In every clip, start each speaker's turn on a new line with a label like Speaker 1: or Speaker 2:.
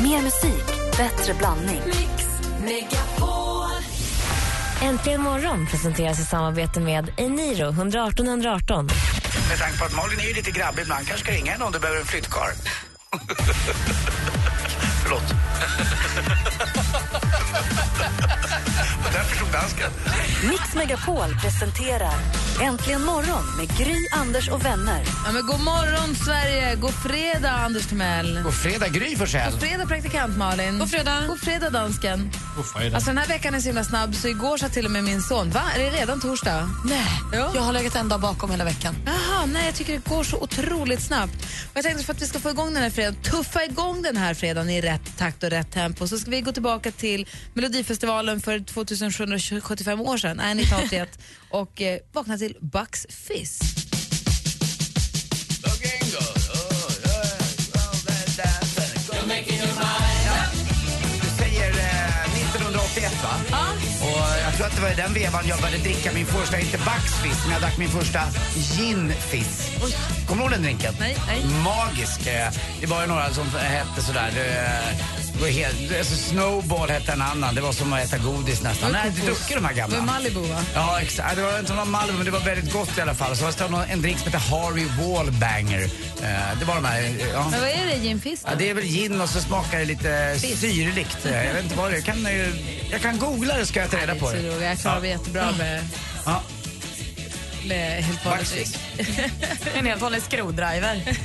Speaker 1: Mer musik, bättre blandning.
Speaker 2: Mix Megapol.
Speaker 3: Äntligen morgon presenteras i samarbete med Eniro 118 118.
Speaker 4: Med tanke på att Malin är ju lite grabbig ibland kanske ska ringa henne om du behöver en flyttkarl. Förlåt. Och där förstod dansken.
Speaker 1: Mix Megapol presenterar Äntligen morgon med Gry, Anders och vänner.
Speaker 5: Ja, men god morgon, Sverige! God fredag, Anders Timell!
Speaker 6: God fredag, Gry Forssell.
Speaker 5: God fredag, praktikant Malin! God fredag! God fredag, dansken! Alltså, den här veckan är så himla snabb, så igår sa till och med min son... Va? Är det redan torsdag?
Speaker 7: Nej,
Speaker 5: Ja.
Speaker 7: jag har legat en dag bakom hela veckan.
Speaker 5: Jaha, nej, jag tycker det går så otroligt snabbt. Och jag tänkte för att vi ska få igång den här fredagen, tuffa igång den här fredagen i rätt takt och rätt tempo, så ska vi gå tillbaka till Melodifestivalen för 2775 år sedan, nej 1981, och eh, vakna till Bucks Fizz.
Speaker 6: Du säger eh, 1981 va? Ja. Och jag tror att det var i den vevan jag började dricka min första, inte Bucksfizz, men jag drack min första ginfizz. Kommer du ihåg den drinken?
Speaker 5: Nej, nej.
Speaker 6: Magisk. eh, Det var ju några som hette sådär. eh, Det var helt, alltså Snowball hette en annan. Det var som att äta godis nästan. Nej, du druckit de här gamla.
Speaker 5: Med Malibu, va?
Speaker 6: Ja, exakt. Det var inte någon Malmö, men det var väldigt gott i alla fall. Så var det någon- en drink som hette Harry Wallbanger. Eh, Det var de här... eh, Ja.
Speaker 5: Men vad är det, Jim Fizz?
Speaker 6: Ja, det är väl gin och så smakar det lite syrligt. Jag vet inte vad det är. Jag kan, eh, jag kan googla det ska jag ta reda på det.
Speaker 5: Jag klarar mig jättebra med,
Speaker 6: Ja,
Speaker 5: med helt vanligt
Speaker 6: Bucks
Speaker 5: dricks.
Speaker 6: Fizz.
Speaker 7: En helt vanlig skrodriver.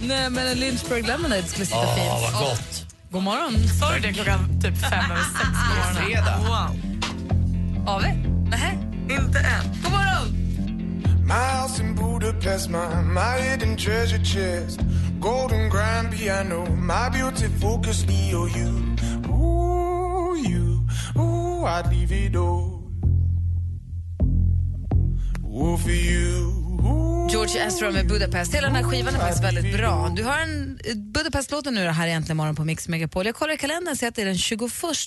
Speaker 5: Nej, men en Lynchburg Lemonade skulle sitta
Speaker 6: Åh,
Speaker 5: fint.
Speaker 6: Ah, vad gott.
Speaker 5: God morgon.
Speaker 7: Sa du det klockan typ fem över sex på morgonen?
Speaker 6: Fredag.
Speaker 7: Wow.
Speaker 5: Ave? Nähä?
Speaker 7: Inte än.
Speaker 5: God morgon!
Speaker 8: My house in Budapest, my, my hidden treasure chest. Golden grand piano, my beauty focus, me or you. Ooh, you, ooh, I'd leave it all. Ooh, for you, ooh.
Speaker 5: George Ezra med Budapest. Hela den här skivan är faktiskt väldigt bra. Du har en eh, Budapest-låten nu då här egentligen imorgon på Mix Megapol. Jag kollar i kalendern och ser att det är den 21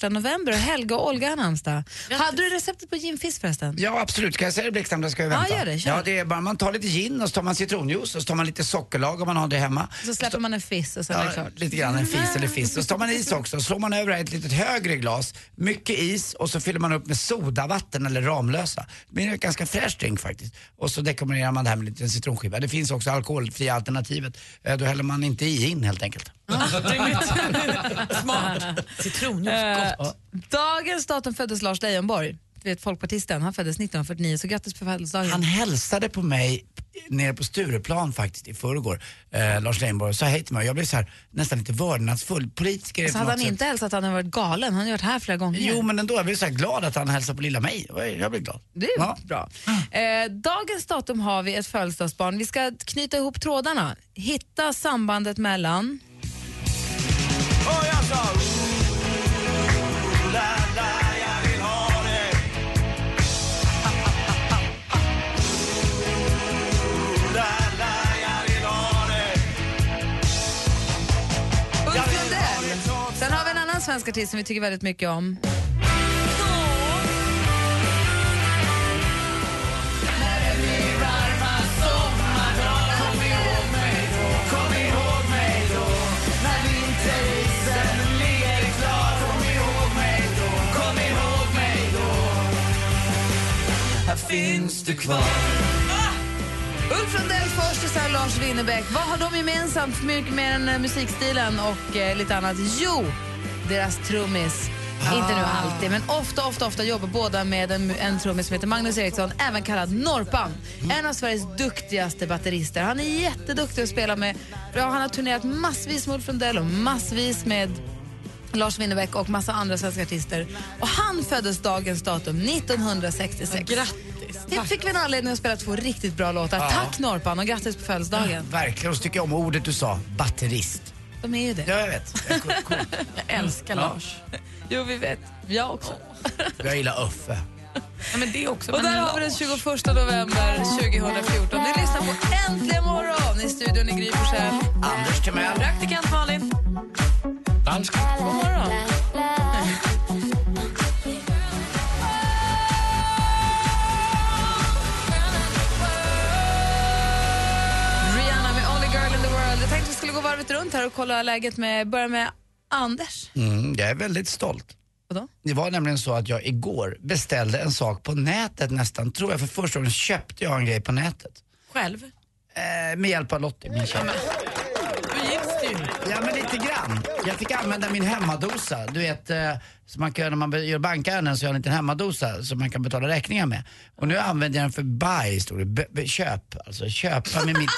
Speaker 5: november och Helga och Olga har namnsdag. Hade du receptet på gin fizz förresten?
Speaker 6: Ja, absolut. Kan jag säga det blixtsnabbt? Ska jag vänta?
Speaker 5: Ja, gör det. Kör.
Speaker 6: Ja, det är bara, man tar lite gin och så tar man citronjuice och så tar man lite sockerlag om man har det hemma.
Speaker 5: Så släpper man en fizz och sen är det
Speaker 6: Ja,
Speaker 5: klart.
Speaker 6: lite grann en fis eller fiss. Och så tar man is också. Slår man över ett litet högre glas, mycket is och så fyller man upp med sodavatten eller Ramlösa. Det blir en ganska fräsch drink faktiskt. Och så dekorerar man det här med lite citronskiva. Det finns också alkoholfria alternativet. Eh, Då häller man inte i in helt enkelt.
Speaker 5: Ah.
Speaker 7: Smart. Citronjuice,
Speaker 5: Eh,
Speaker 7: gott.
Speaker 5: dagens datum föddes Lars Leijonborg. Du vet folkpartisten, han föddes 1949 så grattis på födelsedagen.
Speaker 6: Han hälsade på mig nere på Stureplan faktiskt i förrgår, eh, Lars Leijonborg, och sa hej till mig. Jag blev så här, nästan lite vördnadsfull. Politiker är
Speaker 5: Så
Speaker 6: på
Speaker 5: hade
Speaker 6: något
Speaker 5: han
Speaker 6: sätt-
Speaker 5: inte hälsat att han hade varit galen. Han har ju varit här flera gånger.
Speaker 6: Jo men ändå, jag blev så här glad att han hälsade på lilla mig. Jag blev glad.
Speaker 5: Det är ju
Speaker 6: Ja.
Speaker 5: bra. Eh, dagens datum har vi ett födelsedagsbarn. Vi ska knyta ihop trådarna. Hitta sambandet mellan...
Speaker 4: Och jag sa ooh, la, la, jag vill ha det. Ooh, la, la, jag vill ha det.
Speaker 5: Ulf Lundell. Sen har vi en annan svensk artist som vi tycker väldigt mycket om. Ulf Lundell först och sen Lars Winnerbäck. Vad har de gemensamt, mycket mer än eh, musikstilen och eh, lite annat? Jo, deras trummis. Inte nu alltid, men ofta, ofta, ofta jobbar båda med en, en trummis som heter Magnus Eriksson, även kallad Norpan. En av Sveriges duktigaste batterister. Han är jätteduktig att spela med. Ja, han har turnerat massvis med Ulf Lundell och massvis med Lars Winnerbäck och massa andra svenska artister. Och han föddes dagens datum 1966.
Speaker 7: Grattis.
Speaker 5: Det fick vi en anledning att spela två riktigt bra låtar. Tack Norpan och grattis på födelsedagen.
Speaker 6: Verkligen, och så tycker jag om ordet du sa, batterist.
Speaker 5: De är ju det.
Speaker 6: Ja, jag vet. Jag, cool, cool.
Speaker 7: Jag älskar Lars.
Speaker 5: Jo, vi vet. Jag också.
Speaker 6: jag gillar Uffe.
Speaker 7: Ja, men det är också.
Speaker 5: Och där har vi den 21 november 2014. Du lyssnar på Äntligen morgon i studion i Gry Forssell.
Speaker 6: Anders Timell.
Speaker 7: Praktikant Malin.
Speaker 5: God morgon. Rihanna med Only Girl in the World. Jag tänkte vi skulle gå varvet runt här och kolla läget med, börja med Anders.
Speaker 6: Mm, jag är väldigt stolt.
Speaker 5: Vadå?
Speaker 6: Det var nämligen så att jag igår beställde en sak på nätet nästan, tror jag. För första gången köpte jag en grej på nätet.
Speaker 7: Själv?
Speaker 6: Eh, med hjälp av Lottie, min tjej.
Speaker 7: Då gills det ju.
Speaker 6: Ja men lite grann. Jag fick använda min hemmadosa. Du vet, eh, så man kan, göra när man be- gör bankärenden så gör man en liten hemmadosa som man kan betala räkningar med. Och nu använder jag den för buy, står det. B- b- köp, alltså köpa med mitt...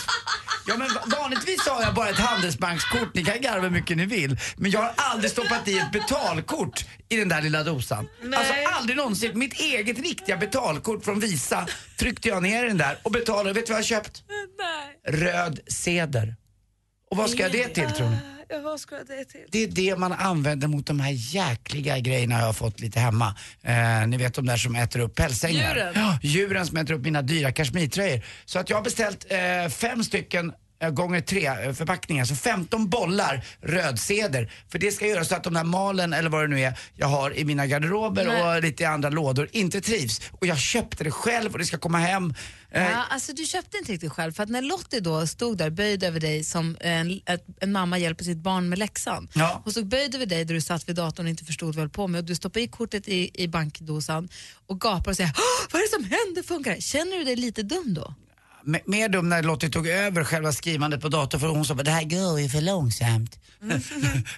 Speaker 6: Ja men va- vanligtvis har jag bara ett handelsbankskort, ni kan garva hur mycket ni vill. Men jag har aldrig stoppat i ett betalkort i den där lilla dosan. Alltså aldrig någonsin. Mitt eget riktiga betalkort från Visa tryckte jag ner i den där och betalade. Vet du vad jag har köpt? Röd ceder. Och vad ska jag det till tror ni? Det är det man använder mot de här jäkliga grejerna jag har fått lite hemma. Eh, ni vet de där som äter upp pälsängar. Djuren? Ja, djuren som äter upp mina dyra kashmirtröjor. Så att jag har beställt eh, fem stycken eh, gånger tre eh, förpackningar, så 15 bollar rödceder. För det ska göra så att de där malen, eller vad det nu är, jag har i mina garderober och lite i andra lådor inte trivs. Och jag köpte det själv och det ska komma hem. Eh,
Speaker 5: Ja, alltså du köpte inte riktigt själv, för att när Lottie då stod där böjd över dig som en, ett, en mamma hjälper sitt barn med läxan.
Speaker 6: Ja.
Speaker 5: Hon stod böjd över dig där du satt vid datorn och inte förstod vad du höll på med och du stoppade i kortet i, i bankdosan och gapade och säger "Åh, vad är det som händer, funkar det? Känner du dig lite dum då?
Speaker 6: M- mer dum när Lottie tog över själva skrivandet på datorn för hon sa det här går ju för långsamt.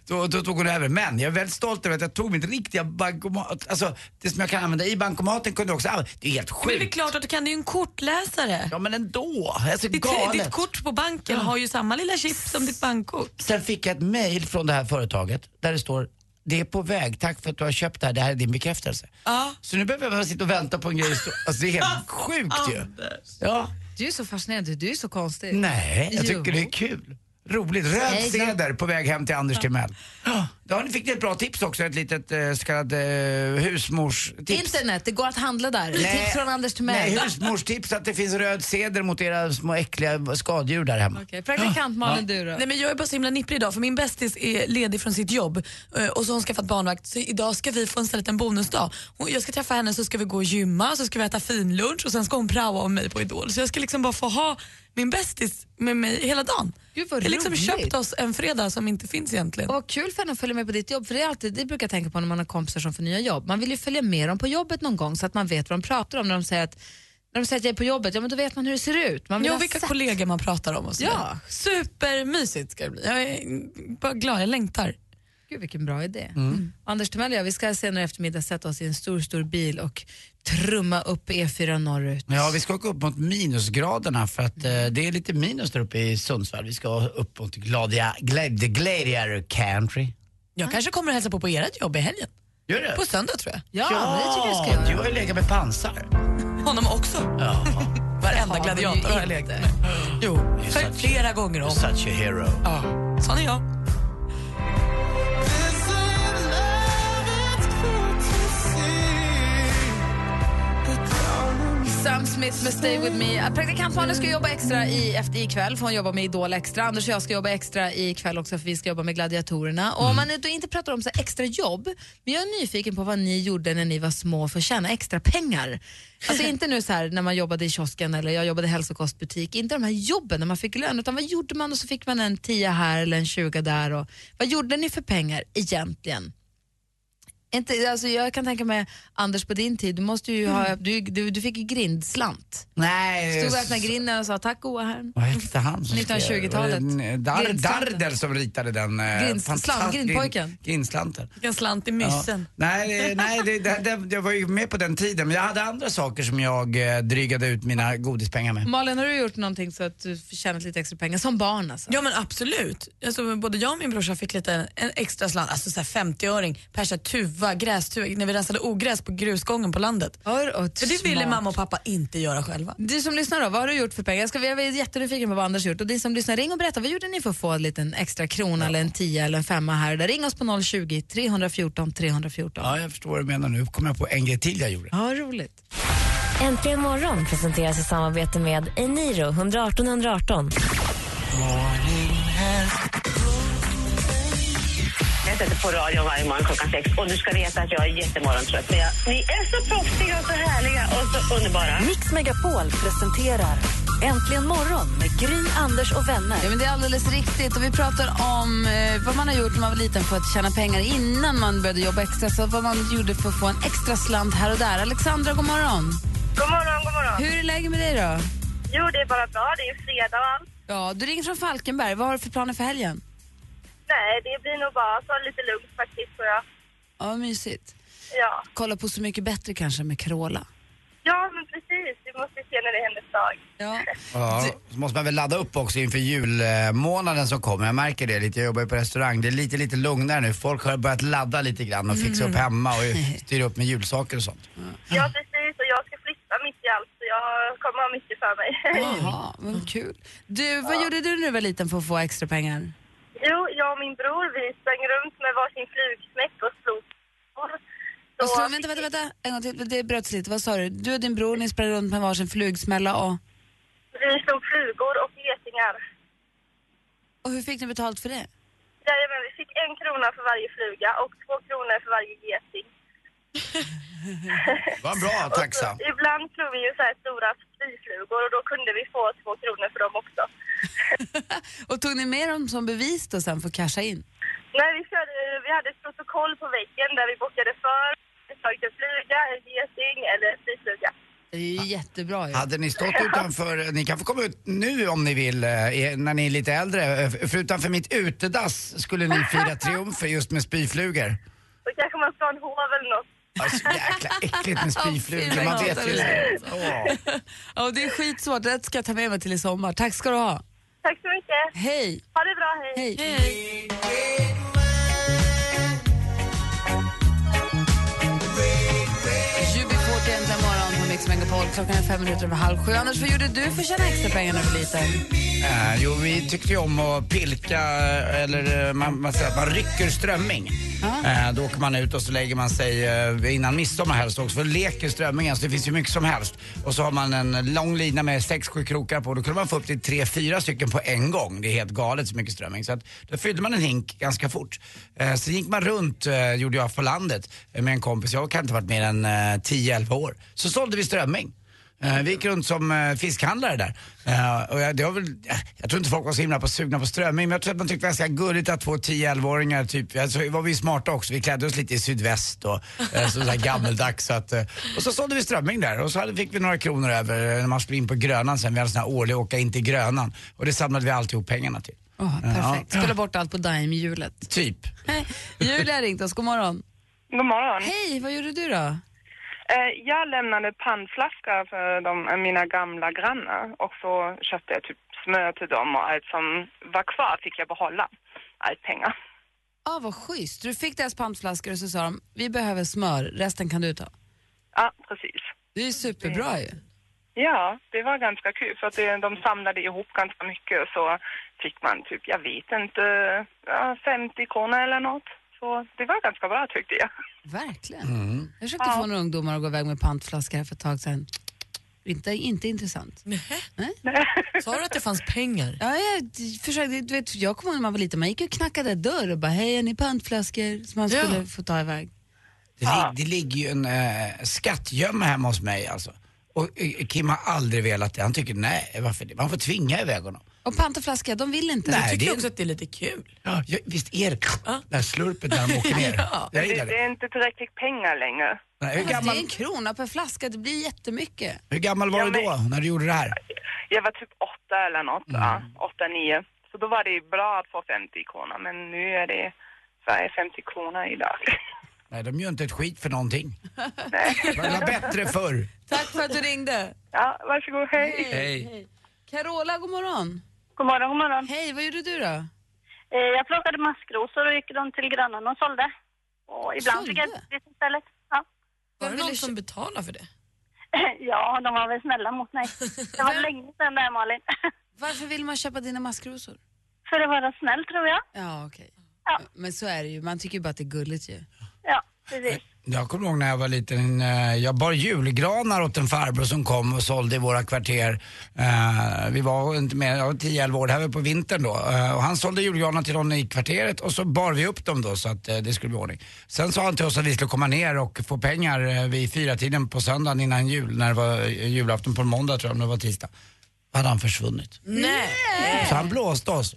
Speaker 6: då, då tog hon över. Men jag är väldigt stolt över att jag tog mitt riktiga bankomat, alltså det som jag kan använda i bankomaten kunde jag också använda. Det är helt
Speaker 7: Men det är
Speaker 6: sjukt.
Speaker 7: klart att du kan, det är ju en kortläsare.
Speaker 6: Ja men ändå, alltså
Speaker 7: Ditt,
Speaker 6: galet.
Speaker 7: ditt kort på banken har ju samma lilla chip som ditt bankkort.
Speaker 6: Sen fick jag ett mail från det här företaget där det står det är på väg, tack för att du har köpt det här, det här är din bekräftelse.
Speaker 7: Ja.
Speaker 6: Så nu behöver jag bara sitta och vänta på en grej. som- Alltså det är helt sjukt ju. Ja.
Speaker 5: Du är så fascinerande, du är så konstig.
Speaker 6: Nej, jag
Speaker 5: Jo.
Speaker 6: tycker det är kul. Roligt. Röd
Speaker 5: Nej,
Speaker 6: ceder på väg hem till Anders Timell. Ja, Då har ni- fick ni ett bra tips också, ett litet eh, så kallat eh, husmorstips.
Speaker 5: Internet, det går att handla där.
Speaker 6: Nej.
Speaker 5: Tips från Anders till mig.
Speaker 6: Nej, husmorstips att det finns röd ceder mot era små äckliga skadedjur där hemma.
Speaker 5: Okej, Praktikant Malin, du då?
Speaker 7: Nej, men jag är bara så himla nipplig idag för min bästis är ledig från sitt jobb eh, och så har hon skaffat barnvakt så idag ska vi få en, istället en bonusdag. Hon, jag ska träffa henne så ska vi gå och gymma, så ska vi äta finlunch och sen ska hon praoa om mig på Idol. Så jag ska liksom bara få ha min bästis med mig hela dagen.
Speaker 5: Gud, vad
Speaker 7: jag har liksom
Speaker 5: roligt.
Speaker 7: köpt oss en fredag som inte finns egentligen.
Speaker 5: Och vad kul för henne att följa med på ditt jobb, för det, är alltid, det brukar jag tänka på när man har kompisar som får nya jobb. Man vill ju följa med dem på jobbet någon gång så att man vet vad de pratar om när de säger att, när de säger att jag är på jobbet, ja men då vet man hur det ser ut. Man vill
Speaker 7: Ja,
Speaker 5: ha
Speaker 7: vilka
Speaker 5: sett-
Speaker 7: kollegor man pratar om och så
Speaker 5: Ja.
Speaker 7: vidare. Supermysigt ska det bli. Jag är bara glad, jag längtar.
Speaker 5: Gud vilken bra idé. Mm. Anders Timell och jag, vi ska senare i eftermiddag sätta oss i en stor, stor bil och trumma upp E4 norrut.
Speaker 6: Ja, vi ska åka upp mot minusgraderna för att eh, det är lite minus där uppe i Sundsvall. Vi ska upp mot Gladia, Glad, the Gladiator Country.
Speaker 7: Jag kanske kommer och hälsa på på ert jobb i helgen.
Speaker 6: Gör det?
Speaker 7: På söndag tror jag.
Speaker 5: Ja, men det tycker jag ska göra.
Speaker 6: Du har ju legat med pansar.
Speaker 7: Honom också.
Speaker 6: Ja,
Speaker 7: Varenda
Speaker 5: har
Speaker 7: gladiator
Speaker 5: vi
Speaker 7: har jag lekt med. Jo,
Speaker 6: You're
Speaker 7: för
Speaker 6: such-
Speaker 7: flera gånger om.
Speaker 6: such a hero.
Speaker 7: Ja, sån är jag.
Speaker 5: Sam Smith med Stay With Me. Att Praktikant Malin ska jobba extra i, efter, ikväll för hon jobbar med Idol extra. Anders och jag ska jobba extra ikväll också för vi ska jobba med Gladiatorerna. Och om man då inte pratar om så här extra jobb, men jag är nyfiken på vad ni gjorde när ni var små för att tjäna extra pengar. Alltså inte nu så här när man jobbade i kiosken eller jag jobbade i hälsokostbutik, inte de här jobben när man fick lön, utan vad gjorde man och så fick man en 10 här eller en 20 där och vad gjorde ni för pengar egentligen? Inte, alltså jag kan tänka mig, Anders på din tid, du, måste ju ha, du, du, du fick ju grindslant.
Speaker 6: Nej.
Speaker 5: Stod och öppnade grinden och sa tack goa herrn.
Speaker 6: Vad hette han? som
Speaker 5: 1920-talet?
Speaker 6: skrev? Var det, eh, Dar,
Speaker 5: Grindslanten.
Speaker 6: Dardel som ritade den. eh,
Speaker 5: Grins- slant-
Speaker 6: fantastisk-
Speaker 5: grindpojken.
Speaker 6: Grindslanten.
Speaker 7: Vilken slant i
Speaker 6: Ja.
Speaker 7: myssen.
Speaker 6: Nej, det- nej det, det, det, jag var ju med på den tiden men jag hade andra saker som jag eh, drygade ut mina godispengar med.
Speaker 5: Malin, har du gjort någonting så att du tjänat lite extra pengar? Som barn alltså?
Speaker 7: Ja men absolut. Alltså, både jag och min brorsa fick lite en extra slant, alltså så här 50-öring per så här tuva, grästuva, när vi rensade ogräs på grusgången på landet.
Speaker 5: Hör och
Speaker 7: För det ville
Speaker 5: smart.
Speaker 7: mamma och pappa inte göra själva.
Speaker 5: Du som lyssnar då, vad har du gjort för pengar? Jag, ska, jag är jättenyfiken på vad Anders har gjort. Och ni som lyssnar, ring och berätta, vad gjorde ni för att få en liten extra krona eller en tia eller en femma här? och Där. Ring oss på 020 314 314. Ja,
Speaker 6: Ja, jag förstår vad du menar nu. Kommer jag på en grej till jag gjorde.
Speaker 5: roligt.
Speaker 3: Äntligen morgon presenteras i samarbete med Eniro 118 118.
Speaker 9: Jag sätter på radion varje morgon klockan sex och du ska veta att jag är jättemorgontrött. Men jag, ni är så proffsiga och så härliga och så underbara.
Speaker 1: Mix Megapol presenterar Äntligen morgon med Gry, Anders och vänner.
Speaker 5: Ja, men det är alldeles riktigt. Och vi pratar om eh, vad man har gjort när man var liten för att tjäna pengar innan man började jobba extra. Så vad man gjorde för att få en extra slant här och där. Alexandra, god morgon.
Speaker 9: God morgon, god morgon.
Speaker 5: Hur är läget med dig då?
Speaker 9: Jo, det är bara bra. Det är ju fredag och allt.
Speaker 5: Ja, du ringer från Falkenberg. Vad har du för planer för helgen?
Speaker 9: Nej, det blir nog bara så lite lugnt faktiskt, tror jag.
Speaker 5: Ja, vad mysigt.
Speaker 9: Ja.
Speaker 5: Kolla på Så mycket bättre kanske med Carola.
Speaker 9: ja, men precis. Vi måste se när det händer ett tag.
Speaker 5: Ja.
Speaker 6: Ja, så måste man väl ladda upp också inför julmånaden som kommer. Jag märker det lite, jag jobbar ju på restaurang. Det är lite, lite lugnare nu. Folk har börjat ladda lite grann och fixa upp hemma och styra upp med julsaker och sånt.
Speaker 9: Ja, precis. Och jag ska flytta mitt i allt, så jag kommer ha mycket för mig.
Speaker 5: Jaha, vad kul. Du, vad gjorde du när du var liten för att få extra pengar?
Speaker 9: jo, jag och min bror, vi sprang runt med varsin flugsmäck och slog.
Speaker 5: Och så, vänta, vänta, vänta. En gång till. Det bröts lite. Vad sa du? Du och din bror, ni sprang runt med varsin flugsmälla och...
Speaker 9: Vi slog flugor och getingar.
Speaker 5: Och hur fick ni betalt för det?
Speaker 9: Jajamän, vi fick en krona för varje fluga och två kronor för varje geting.
Speaker 6: Vad bra taxa.
Speaker 9: Och så, ibland slog vi ju så här stora spyflugor och då kunde vi få två kronor för dem också.
Speaker 5: Och tog ni med dem som bevis då sen för att casha in?
Speaker 9: Nej, vi, körde, vi hade ett protokoll på väggen där vi bockade för vi tagit en fluga, en geting eller en spyfluga.
Speaker 5: Det är ju jättebra ju.
Speaker 6: Hade ni stått utanför, ni kan få komma ut nu om ni vill, eh, er- när ni är lite äldre. Eh, För utanför mitt utedass skulle ni fira triumfer just med spyflugor.
Speaker 9: Då kanske man ska ha en hov eller något.
Speaker 6: Alltså jäkla äckligt med spyflugor,
Speaker 5: Fy,
Speaker 6: man
Speaker 5: vad
Speaker 6: vet ju
Speaker 5: gott
Speaker 6: det. Åh.
Speaker 5: Ja, och det är skitsvårt. Det ska jag ta med mig till i sommar. Tack ska du ha.
Speaker 9: Tack så mycket.
Speaker 5: Hej!
Speaker 9: Ha det bra, hej.
Speaker 5: Hej! UB40 äntligen morgon på Mix Megapol. Klockan är fem minuter över halv sju. Anders, vad gjorde du för att tjäna extra pengar när du var liten?
Speaker 6: Eh, jo, vi tyckte ju om att pilka, eller eh, man, man säger att man rycker strömming. Eh, då åker man ut och så lägger man sig eh, innan midsommar helst också, för leker strömmingen så det finns ju mycket som helst. Och så har man en lång lina med sex, sju krokar på. Då kunde man få upp till tre, fyra stycken på en gång. Det är helt galet så mycket strömming. Så att, då fyllde man en hink ganska fort. Eh, sen gick man runt, eh, gjorde jag, på landet eh, med en kompis. Jag kan inte ha varit mer än eh, 10-11 år. Så sålde vi strömming. Eh, Vi gick runt som eh, fiskhandlare där. Eh, Och jag, det var väl, eh, jag tror inte folk var så himla på sugna på strömming men jag tror att man tyckte det var ganska gulligt att två 10-11-åringar typ, alltså, var vi smarta också, vi klädde oss lite i sydväst och eh, så där gammeldags. Så att, eh, och så sålde vi strömming där och så hade, fick vi några kronor över eh, när man skulle in på Grönan sen. Vi hade en sån här årlig åka in till Grönan och det samlade vi alltihop pengarna till.
Speaker 5: Åh, perfekt. Spela bort allt på Daim-hjulet.
Speaker 6: Typ.
Speaker 5: Julia har ringt oss. God morgon.
Speaker 9: God morgon.
Speaker 5: Hej, vad gjorde du då?
Speaker 9: Eh, Jag lämnade pannflaska för de, eh, mina gamla grannar och så köpte jag typ smör till dem och allt som var kvar fick jag behålla. Allt pengar.
Speaker 5: Ja, ah, vad schysst. Du fick deras pantflaskor och så sa de, vi behöver smör, resten kan du ta.
Speaker 9: Ja, precis.
Speaker 5: Det är ju superbra ju.
Speaker 9: Ja, det var ganska kul för att det, de samlade ihop ganska mycket och så fick man typ, jag vet inte, ja, 50 kronor eller något. Så det var ganska bra tyckte jag.
Speaker 5: Verkligen. Jag försökte få några ungdomar att gå iväg med pantflaskor här för ett tag sedan. Inte, inte intressant.
Speaker 7: Sa du att det fanns pengar?
Speaker 5: Ja, jag d- försökte, du vet, jag kommer ihåg när man var liten, man gick och knackade dörr och bara, hej, är ni pantflaskor? Som man
Speaker 7: Ja.
Speaker 5: skulle få ta iväg.
Speaker 6: Det, lig- det ligger ju en eh, skattgömma hemma hos mig alltså. Och eh, Kim har aldrig velat det. Han tycker nej, varför det? Man får tvinga iväg honom.
Speaker 5: Och pant och flaska, de vill inte.
Speaker 6: Nej,
Speaker 7: Jag
Speaker 6: det
Speaker 7: tycker
Speaker 6: är-
Speaker 7: också att det är lite kul.
Speaker 6: Ja, ja, visst är det det här slurpet när de åker ner. Jag gillar det.
Speaker 9: är inte tillräckligt pengar längre.
Speaker 6: Nej, hur,
Speaker 5: Fast det är en
Speaker 6: gammal,
Speaker 5: krona per flaska, det blir jättemycket.
Speaker 6: hur gammal var du då när du gjorde det här?
Speaker 9: Jag var typ åtta eller något, ja, åtta, nio. Så då var det bra att få 50 kronor, men nu är det så här 50 kronor idag.
Speaker 6: Nej, de gör inte ett skit för någonting. Det var bättre förr.
Speaker 5: Tack för att du ringde.
Speaker 9: Ja, varsågod, hej.
Speaker 6: Hej.
Speaker 5: Carola, god morgon.
Speaker 9: God morgon, god morgon.
Speaker 5: Hej, vad gjorde du då?
Speaker 9: Eh, Jag plockade maskrosor och gick dem till grannarna och sålde. Och ibland fick jag
Speaker 5: Sålde?
Speaker 9: ett istället. Ja.
Speaker 5: Vem
Speaker 7: Var det
Speaker 5: ville
Speaker 7: någon
Speaker 5: kö-
Speaker 7: som betalade för det?
Speaker 9: ja, de var väl snälla mot mig. Det var länge sedan det här, Malin.
Speaker 5: Varför vill man köpa dina maskrosor?
Speaker 9: För att vara snäll, tror jag.
Speaker 5: Ja, okej.
Speaker 9: Ja.
Speaker 5: Men så är det ju. Man tycker ju bara att det är gulligt ju.
Speaker 9: Ja, precis.
Speaker 6: Jag kommer ihåg när jag var liten, eh, jag bar julgranar åt en farbror som kom och sålde i våra kvarter. Eh, Vi var inte mer, jag var 10-11 år, det här var på vintern då. Eh, Och han sålde julgranar till någon i kvarteret och så bar vi upp dem då så att eh, det skulle bli ordning. Sen sa han till oss att vi skulle komma ner och få pengar eh, vid fyratiden på söndagen innan jul, när det var eh, julafton på en måndag tror jag, om det var tisdag. hade han försvunnit.
Speaker 5: Nej.
Speaker 6: Så han blåste oss.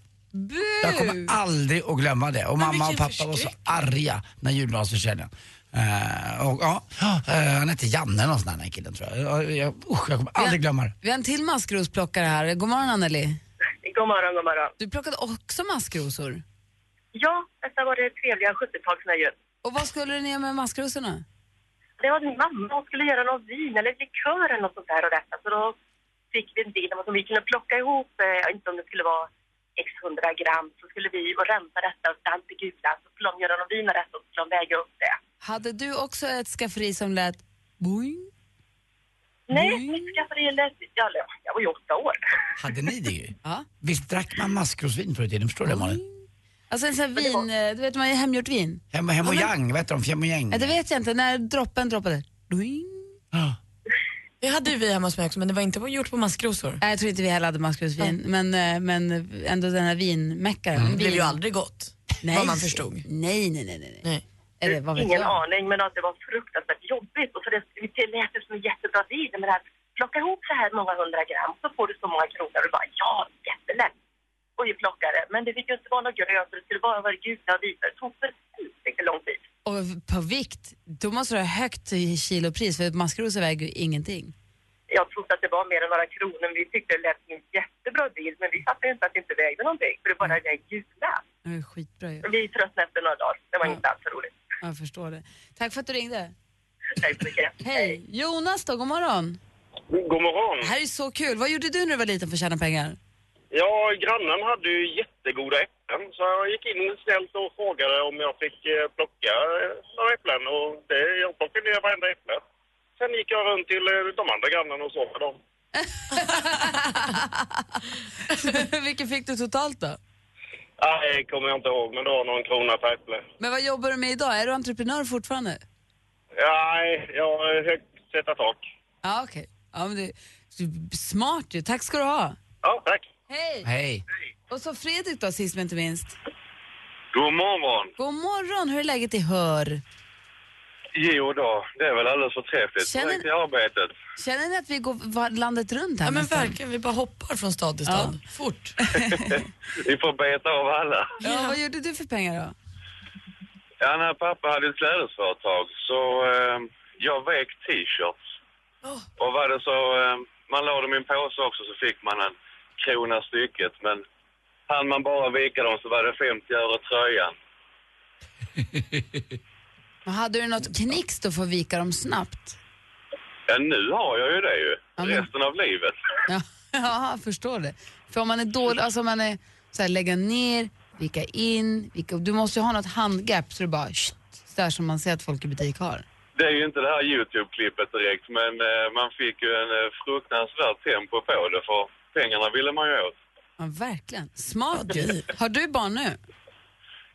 Speaker 6: Jag kommer aldrig att glömma det. Och mamma och
Speaker 7: vilken
Speaker 6: pappa var så arga när julgransförsäljningen. Uh, och ja, eh, han hette Janne eller något sånt där, den här killen tror jag. jag, jag, usch, jag kommer aldrig glömma det.
Speaker 5: Vi har en till maskrosplockare här. God morgon Anneli.
Speaker 10: God morgon, god morgon.
Speaker 5: Du plockade också maskrosor.
Speaker 10: Ja, detta var det trevliga 70-talsnöjet.
Speaker 5: Och vad skulle du göra med maskrosorna?
Speaker 10: Det var min mamma, hon skulle göra någon vin eller likör eller något sånt där och detta. Så då fick vi en deal om att vi kunde plocka ihop, eh, jag vet inte om det skulle vara x hundra gram, så skulle vi och rensa detta och allt det gula. Så skulle de göra någon vin av detta och så skulle de väga upp det.
Speaker 5: Hade du också ett skafferi som lät boing?
Speaker 10: Nej, mitt skafferi lät... ja, eller, Jag var ju åtta år.
Speaker 6: Hade ni det ju?
Speaker 5: Ja.
Speaker 6: Visst drack man maskrosvin förr i tiden? Förstår du det Malin?
Speaker 5: Alltså en sån här vin, eh, du vet man gör hemgjort vin.
Speaker 6: Hem, hem och Yang, vad heter de? Fjäm och Yang?
Speaker 5: Nej, det vet jag inte, när droppen droppade. Doing.
Speaker 6: Ja.
Speaker 7: Det hade ju vi hemma hos mig också men det var inte gjort på maskrosor.
Speaker 5: Nej, jag tror inte vi heller hade maskrosvin, men, eh, men ändå den här vinmäckaren.
Speaker 7: Mm. Det blev ju aldrig gott.
Speaker 5: Nej.
Speaker 7: Vad man förstod.
Speaker 5: Nej, nej, nej. nej. nej.
Speaker 7: Nej.
Speaker 5: Eller Eh, vad vet
Speaker 10: Ingen
Speaker 5: jag?
Speaker 10: aning, men att det var fruktansvärt jobbigt. Och så det, det lät ju som en jättebra deal, men det här plocka ihop så här många hundra gram så får du så många kronor. Och du bara ja, jättelätt. Och vi plockade, men det fick ju inte vara något grönt, det skulle bara vara gula och vita. Det tog för lite lång tid.
Speaker 5: Och på vikt, då måste du ha högt eh, i kilopris för maskrosor väger ju ingenting.
Speaker 10: Jag trodde att det var mer än några kronor, men vi tyckte det lät som en jättebra deal. Men vi fattade ju inte att det inte vägde någonting, för det bara
Speaker 5: Mm.
Speaker 10: vägde gula.
Speaker 5: Det är skitbra ju.
Speaker 10: Vi tröttnade efter några dagar. Det var inte alls roligt.
Speaker 5: Jag förstår det. Tack för att du ringde.
Speaker 10: Tack så mycket.
Speaker 5: Hej! Jonas då, god morgon.
Speaker 9: God morgon.
Speaker 5: Det här är så kul. Vad gjorde du när du var liten för att tjäna pengar?
Speaker 9: Ja, grannen hade ju jättegoda äpplen så jag gick in snällt och frågade om jag fick eh, plocka eh, några äpplen och det, jag plockade ner varenda äpple. Sen gick jag runt till eh, de andra grannarna och såg med dem.
Speaker 5: Vilken fick du totalt då?
Speaker 9: Nej, det kommer jag inte ihåg, men det var någon krona per äpple.
Speaker 5: Men vad jobbar du med idag? Är du entreprenör fortfarande?
Speaker 9: Nej, jag har högt sätta tak.
Speaker 5: Ja, okej. Ja, men det är smart ju. Tack ska du ha.
Speaker 9: Ja, tack.
Speaker 5: Hej!
Speaker 6: Hej.
Speaker 5: Och så Fredrik då, sist men inte minst.
Speaker 9: God morgon.
Speaker 5: God morgon, hur är läget i Hör?
Speaker 9: Jo då, det är väl alldeles förträffligt.
Speaker 5: Känner- Direkt i
Speaker 9: arbetet.
Speaker 5: Känner ni att vi går va- landet runt här
Speaker 7: Ja men
Speaker 5: nästan?
Speaker 7: verkligen, vi bara hoppar från stad till stad. Fort.
Speaker 9: Vi får beta av alla.
Speaker 5: Ja, vad gjorde du för pengar då?
Speaker 9: Ja, när pappa hade ett klädesföretag så eh, jag vek t-shirts.
Speaker 7: Åh.
Speaker 9: Och var det så, eh, man la dem i en påse också så fick man en krona stycket. Men hann man bara vika dem så var det 50 öre tröjan.
Speaker 5: Men hade du något knix då för att vika dem snabbt?
Speaker 9: Ja, nu har jag ju det ju.
Speaker 5: men-
Speaker 9: Resten av livet.
Speaker 5: Ja, ja jag förstår det. För om man är dålig, alltså om man är så här, lägga ner, vika in, vika, du måste ju ha något handgap så du bara shht, så där som man ser att folk i butik har.
Speaker 9: Det är ju inte det här Youtube-klippet direkt, men eh, man fick ju en eh, fruktansvärd tempo på det för pengarna ville man ju åt.
Speaker 5: Ja, verkligen. Smart ju. Har du barn nu?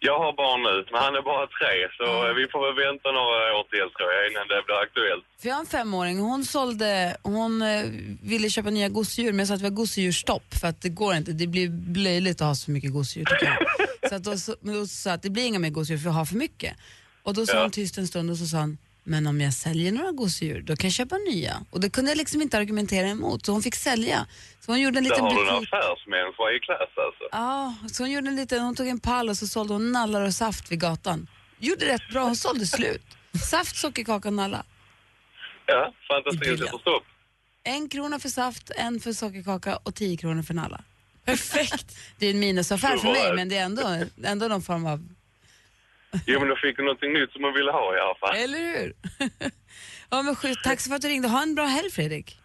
Speaker 9: Jag har barn nu, men han är bara tre, så eh, vi får väl vänta några år till tror jag innan det blir aktuellt.
Speaker 5: För jag har en femåring, hon sålde, hon eh, ville köpa nya gosedjur men jag sa att vi har gosedjursstopp för att det går inte, det blir löjligt att ha så mycket gosedjur tycker jag. Så att då, så, men då sa jag att det blir inga mer gosedjur för jag har för mycket. Och då typ- sa
Speaker 9: Ja.
Speaker 5: hon tyst en stund och så sa hon, men om jag säljer några gosedjur då kan jag köpa nya. Och det kunde jag liksom inte argumentera emot så hon fick sälja. Så hon gjorde en
Speaker 9: Där
Speaker 5: liten
Speaker 9: har du en
Speaker 5: butik.
Speaker 9: affärsmänniska i klass alltså.
Speaker 5: Ja, så hon gjorde en liten, hon tog en pall och så sålde hon nallar och saft vid gatan. Gjorde rätt bra, hon sålde slut. Saft, sockerkaka och nallar.
Speaker 9: Ja,
Speaker 5: I bilen.
Speaker 9: fantasin sätter stopp.
Speaker 5: En krona för saft, en för sockerkaka och tio kronor för nalla.
Speaker 7: Perfekt.
Speaker 5: Det är en minusaffär för
Speaker 9: Så var
Speaker 5: mig,
Speaker 9: det.
Speaker 5: men det är ändå, ändå någon form av...
Speaker 9: Jo, men då fick du någonting nytt som man ville ha i alla fall.
Speaker 5: Eller hur? ja, men schysst. Tack så för att du ringde. Ha en bra helg, Fredrik.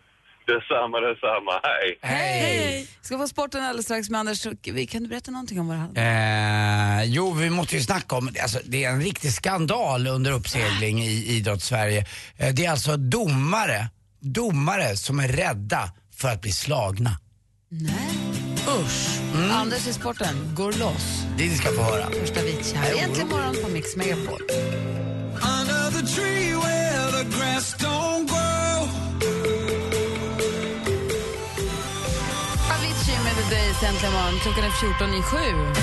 Speaker 9: Detsamma, detsamma. Hej!
Speaker 5: Hej! Ska få sporten alldeles strax med Anders. Kan du berätta någonting om vad det handlar om?
Speaker 6: Eh, jo, vi måste ju snacka om, alltså, det är en riktig skandal under uppsegling i idrottssverige. Eh, det är alltså domare, domare som är rädda för att bli slagna.
Speaker 5: Usch!
Speaker 11: Mm.
Speaker 5: Anders i sporten går loss.
Speaker 6: Det ni ska få höra.
Speaker 5: Första Avicii här. Egentligen morgon på Mix Megapol.
Speaker 12: Under the tree where the grass don't grow
Speaker 5: Avicii med The Days äntligen morgon. Klockan är 14 i sju.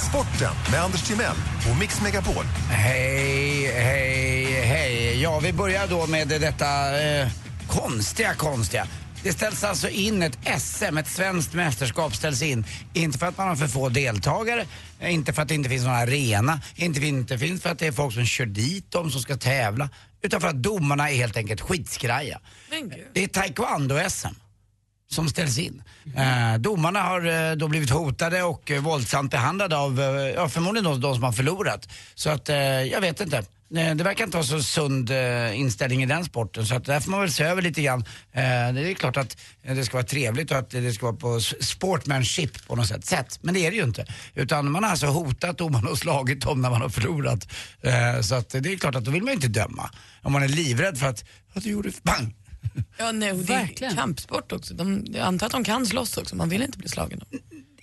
Speaker 8: Sporten med Anders Timell och Mix Megapol.
Speaker 6: Hej, hej, hej. Ja, vi börjar då med detta eh, konstiga, konstiga. Det ställs alltså in ett SM, ett svenskt mästerskap ställs in. Inte för att man har för få deltagare, eh, inte för att det inte finns någon arena, inte för, inte finns för att det är folk som kör dit dem som ska tävla, utan för att domarna är helt enkelt skitskraja.
Speaker 7: Men gud.
Speaker 6: Det är taekwondo-SM som ställs in. Eh, domarna har eh, då blivit hotade och eh, våldsamt behandlade av eh, ja, förmodligen de, de som har förlorat. Så att eh, jag vet inte. Eh, Det verkar inte vara så sund eh, inställning i den sporten så att där får man väl se över lite grann. Eh, Det är klart att eh, det ska vara trevligt och att det ska vara på s- sportmanship på något sätt. sätt. Men det är det ju inte. Utan man har alltså hotat domarna och slagit dem när man har förlorat. Eh, Så att eh, det är klart att då vill man ju inte döma. Om man är livrädd för att, att du gjorde bang,
Speaker 7: Ja, nej, och det är
Speaker 3: Verkligen.
Speaker 7: kampsport också. De, jag antar att de kan slåss också, man vill inte bli slagen.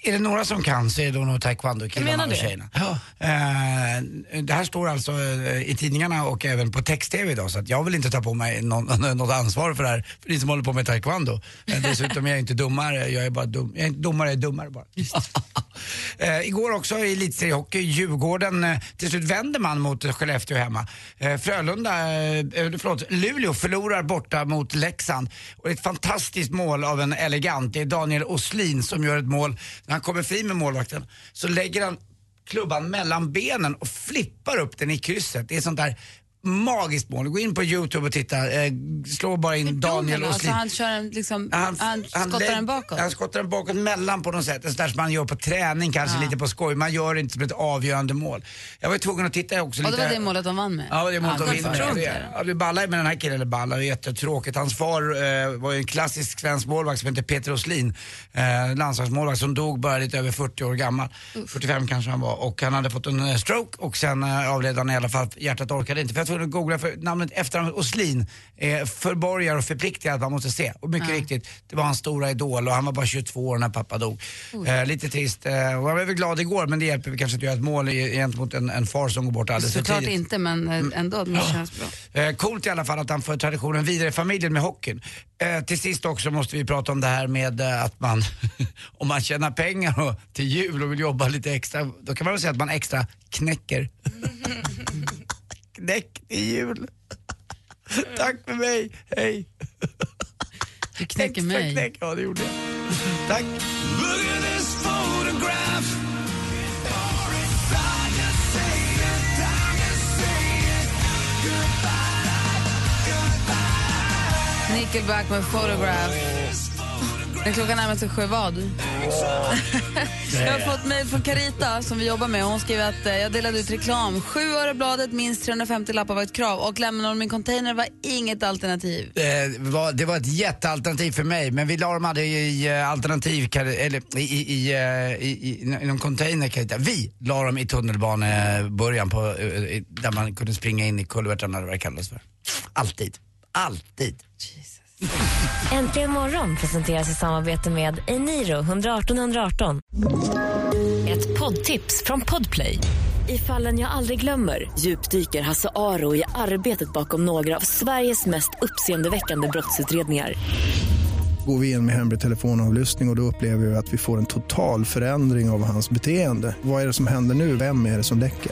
Speaker 6: Är det några som kan så är det nog
Speaker 7: Jag
Speaker 6: taekwondo-killarna
Speaker 7: menar
Speaker 6: och
Speaker 7: det.
Speaker 6: tjejerna. Eh, det här står alltså eh, i tidningarna och även på text-tv idag så att jag vill inte ta på mig någon, något ansvar för det här, för ni som håller på med taekwondo. Eh, dessutom är jag inte domare, jag är bara dum, jag är inte domare, jag är dummare bara. eh, igår också i elitseriehockey, Djurgården, eh, till slut vänder man mot eh, Skellefteå hemma. Eh, Frölunda, eh, eh, förlåt, Luleå förlorar borta mot Leksand. Och det är ett fantastiskt mål av en elegant, det är Daniel Oslin som gör ett mål. När han kommer fri med målvakten så lägger han klubban mellan benen och flippar upp den i krysset. Det är sånt där magiskt mål. Gå in på Youtube och titta. Eh, slå bara in Daniel
Speaker 11: alltså,
Speaker 6: Åslin.
Speaker 11: han kör en, liksom, han, skottar
Speaker 6: lägg-
Speaker 11: den bakåt.
Speaker 6: Han skottar den bakåt mellan på något sätt. Det är sånt där som man gör på träning kanske lite på skoj. Man gör det inte som ett avgörande mål. Jag var ju tvungen att titta också
Speaker 11: och
Speaker 6: lite.
Speaker 11: det var det målet de vann med.
Speaker 6: Ja, det är mot att
Speaker 11: gott
Speaker 6: vinna.
Speaker 11: förtroende.
Speaker 6: Det- Ja, det ballar ju med den här killen, eller ballar, det är jättetråkigt. Hans far eh, var ju en klassisk svensk målvakt som hette Peter Åslin, eh, landslagsmålvakt som dog bara lite över 40 år gammal. 45 kanske han var. Och han hade fått en eh, stroke och sen eh, avled han i alla fall, hjärtat orkade inte. För jag tvungen att googla för namnet efternamnet Åslin eh, förborgar och förpliktigar att man måste se. Och mycket riktigt, det var hans stora idol och han var bara 22 år när pappa dog. Eh, lite trist. Eh, och jag blev väl glad igår men det hjälper kanske inte att göra ett mål i- gentemot en, en far som går bort alldeles för
Speaker 11: Såklart
Speaker 6: tidigt.
Speaker 11: inte, men
Speaker 5: Mm.
Speaker 11: eh, ändå. Det känns bra.
Speaker 6: Eh, coolt i alla fall att han för traditionen vidare i familjen med hockeyn. Eh, till sist också måste vi prata om det här med eh, att man, om man tjänar pengar och, till jul och vill jobba lite extra, då kan man väl säga att man extra knäcker. Knäck till jul. Tack för mig, hej.
Speaker 11: Du knäcker
Speaker 6: Extra
Speaker 11: mig.
Speaker 6: Knäck. Ja, det gjorde jag. Tack.
Speaker 2: Look at this photograph.
Speaker 11: Nickelback med Photograph. När klockan närmar sig sju vad? jag har fått mejl från Carita som vi jobbar med. Hon skriver att eh, jag delade ut reklam. Sju öre bladet, minst 350 lappar var ett krav och lämna dem i en container var inget alternativ.
Speaker 6: Eh, var, det var ett jättealternativ för mig, men vi la dem aldrig i eh, alternativ, eller i, i, i, eh, i, i, i någon container kan jag hitta. Vi la dem i tunnelbanebörjan på, eh, i- där man kunde springa in i kulvertarna eller vad det kallades för. Alltid. Alltid.
Speaker 3: Äntligen morgon presenteras i samarbete med Eniro 118 118.
Speaker 1: Ett poddtips från Podplay. I fallen jag aldrig glömmer djupdyker Hasse Aro i arbetet bakom några av Sveriges mest uppseendeväckande brottsutredningar.
Speaker 13: Går vi in med hemlig telefonavlyssning och, och då upplever vi att vi får en total förändring av hans beteende. Vad är det som händer nu? Vem är det som läcker?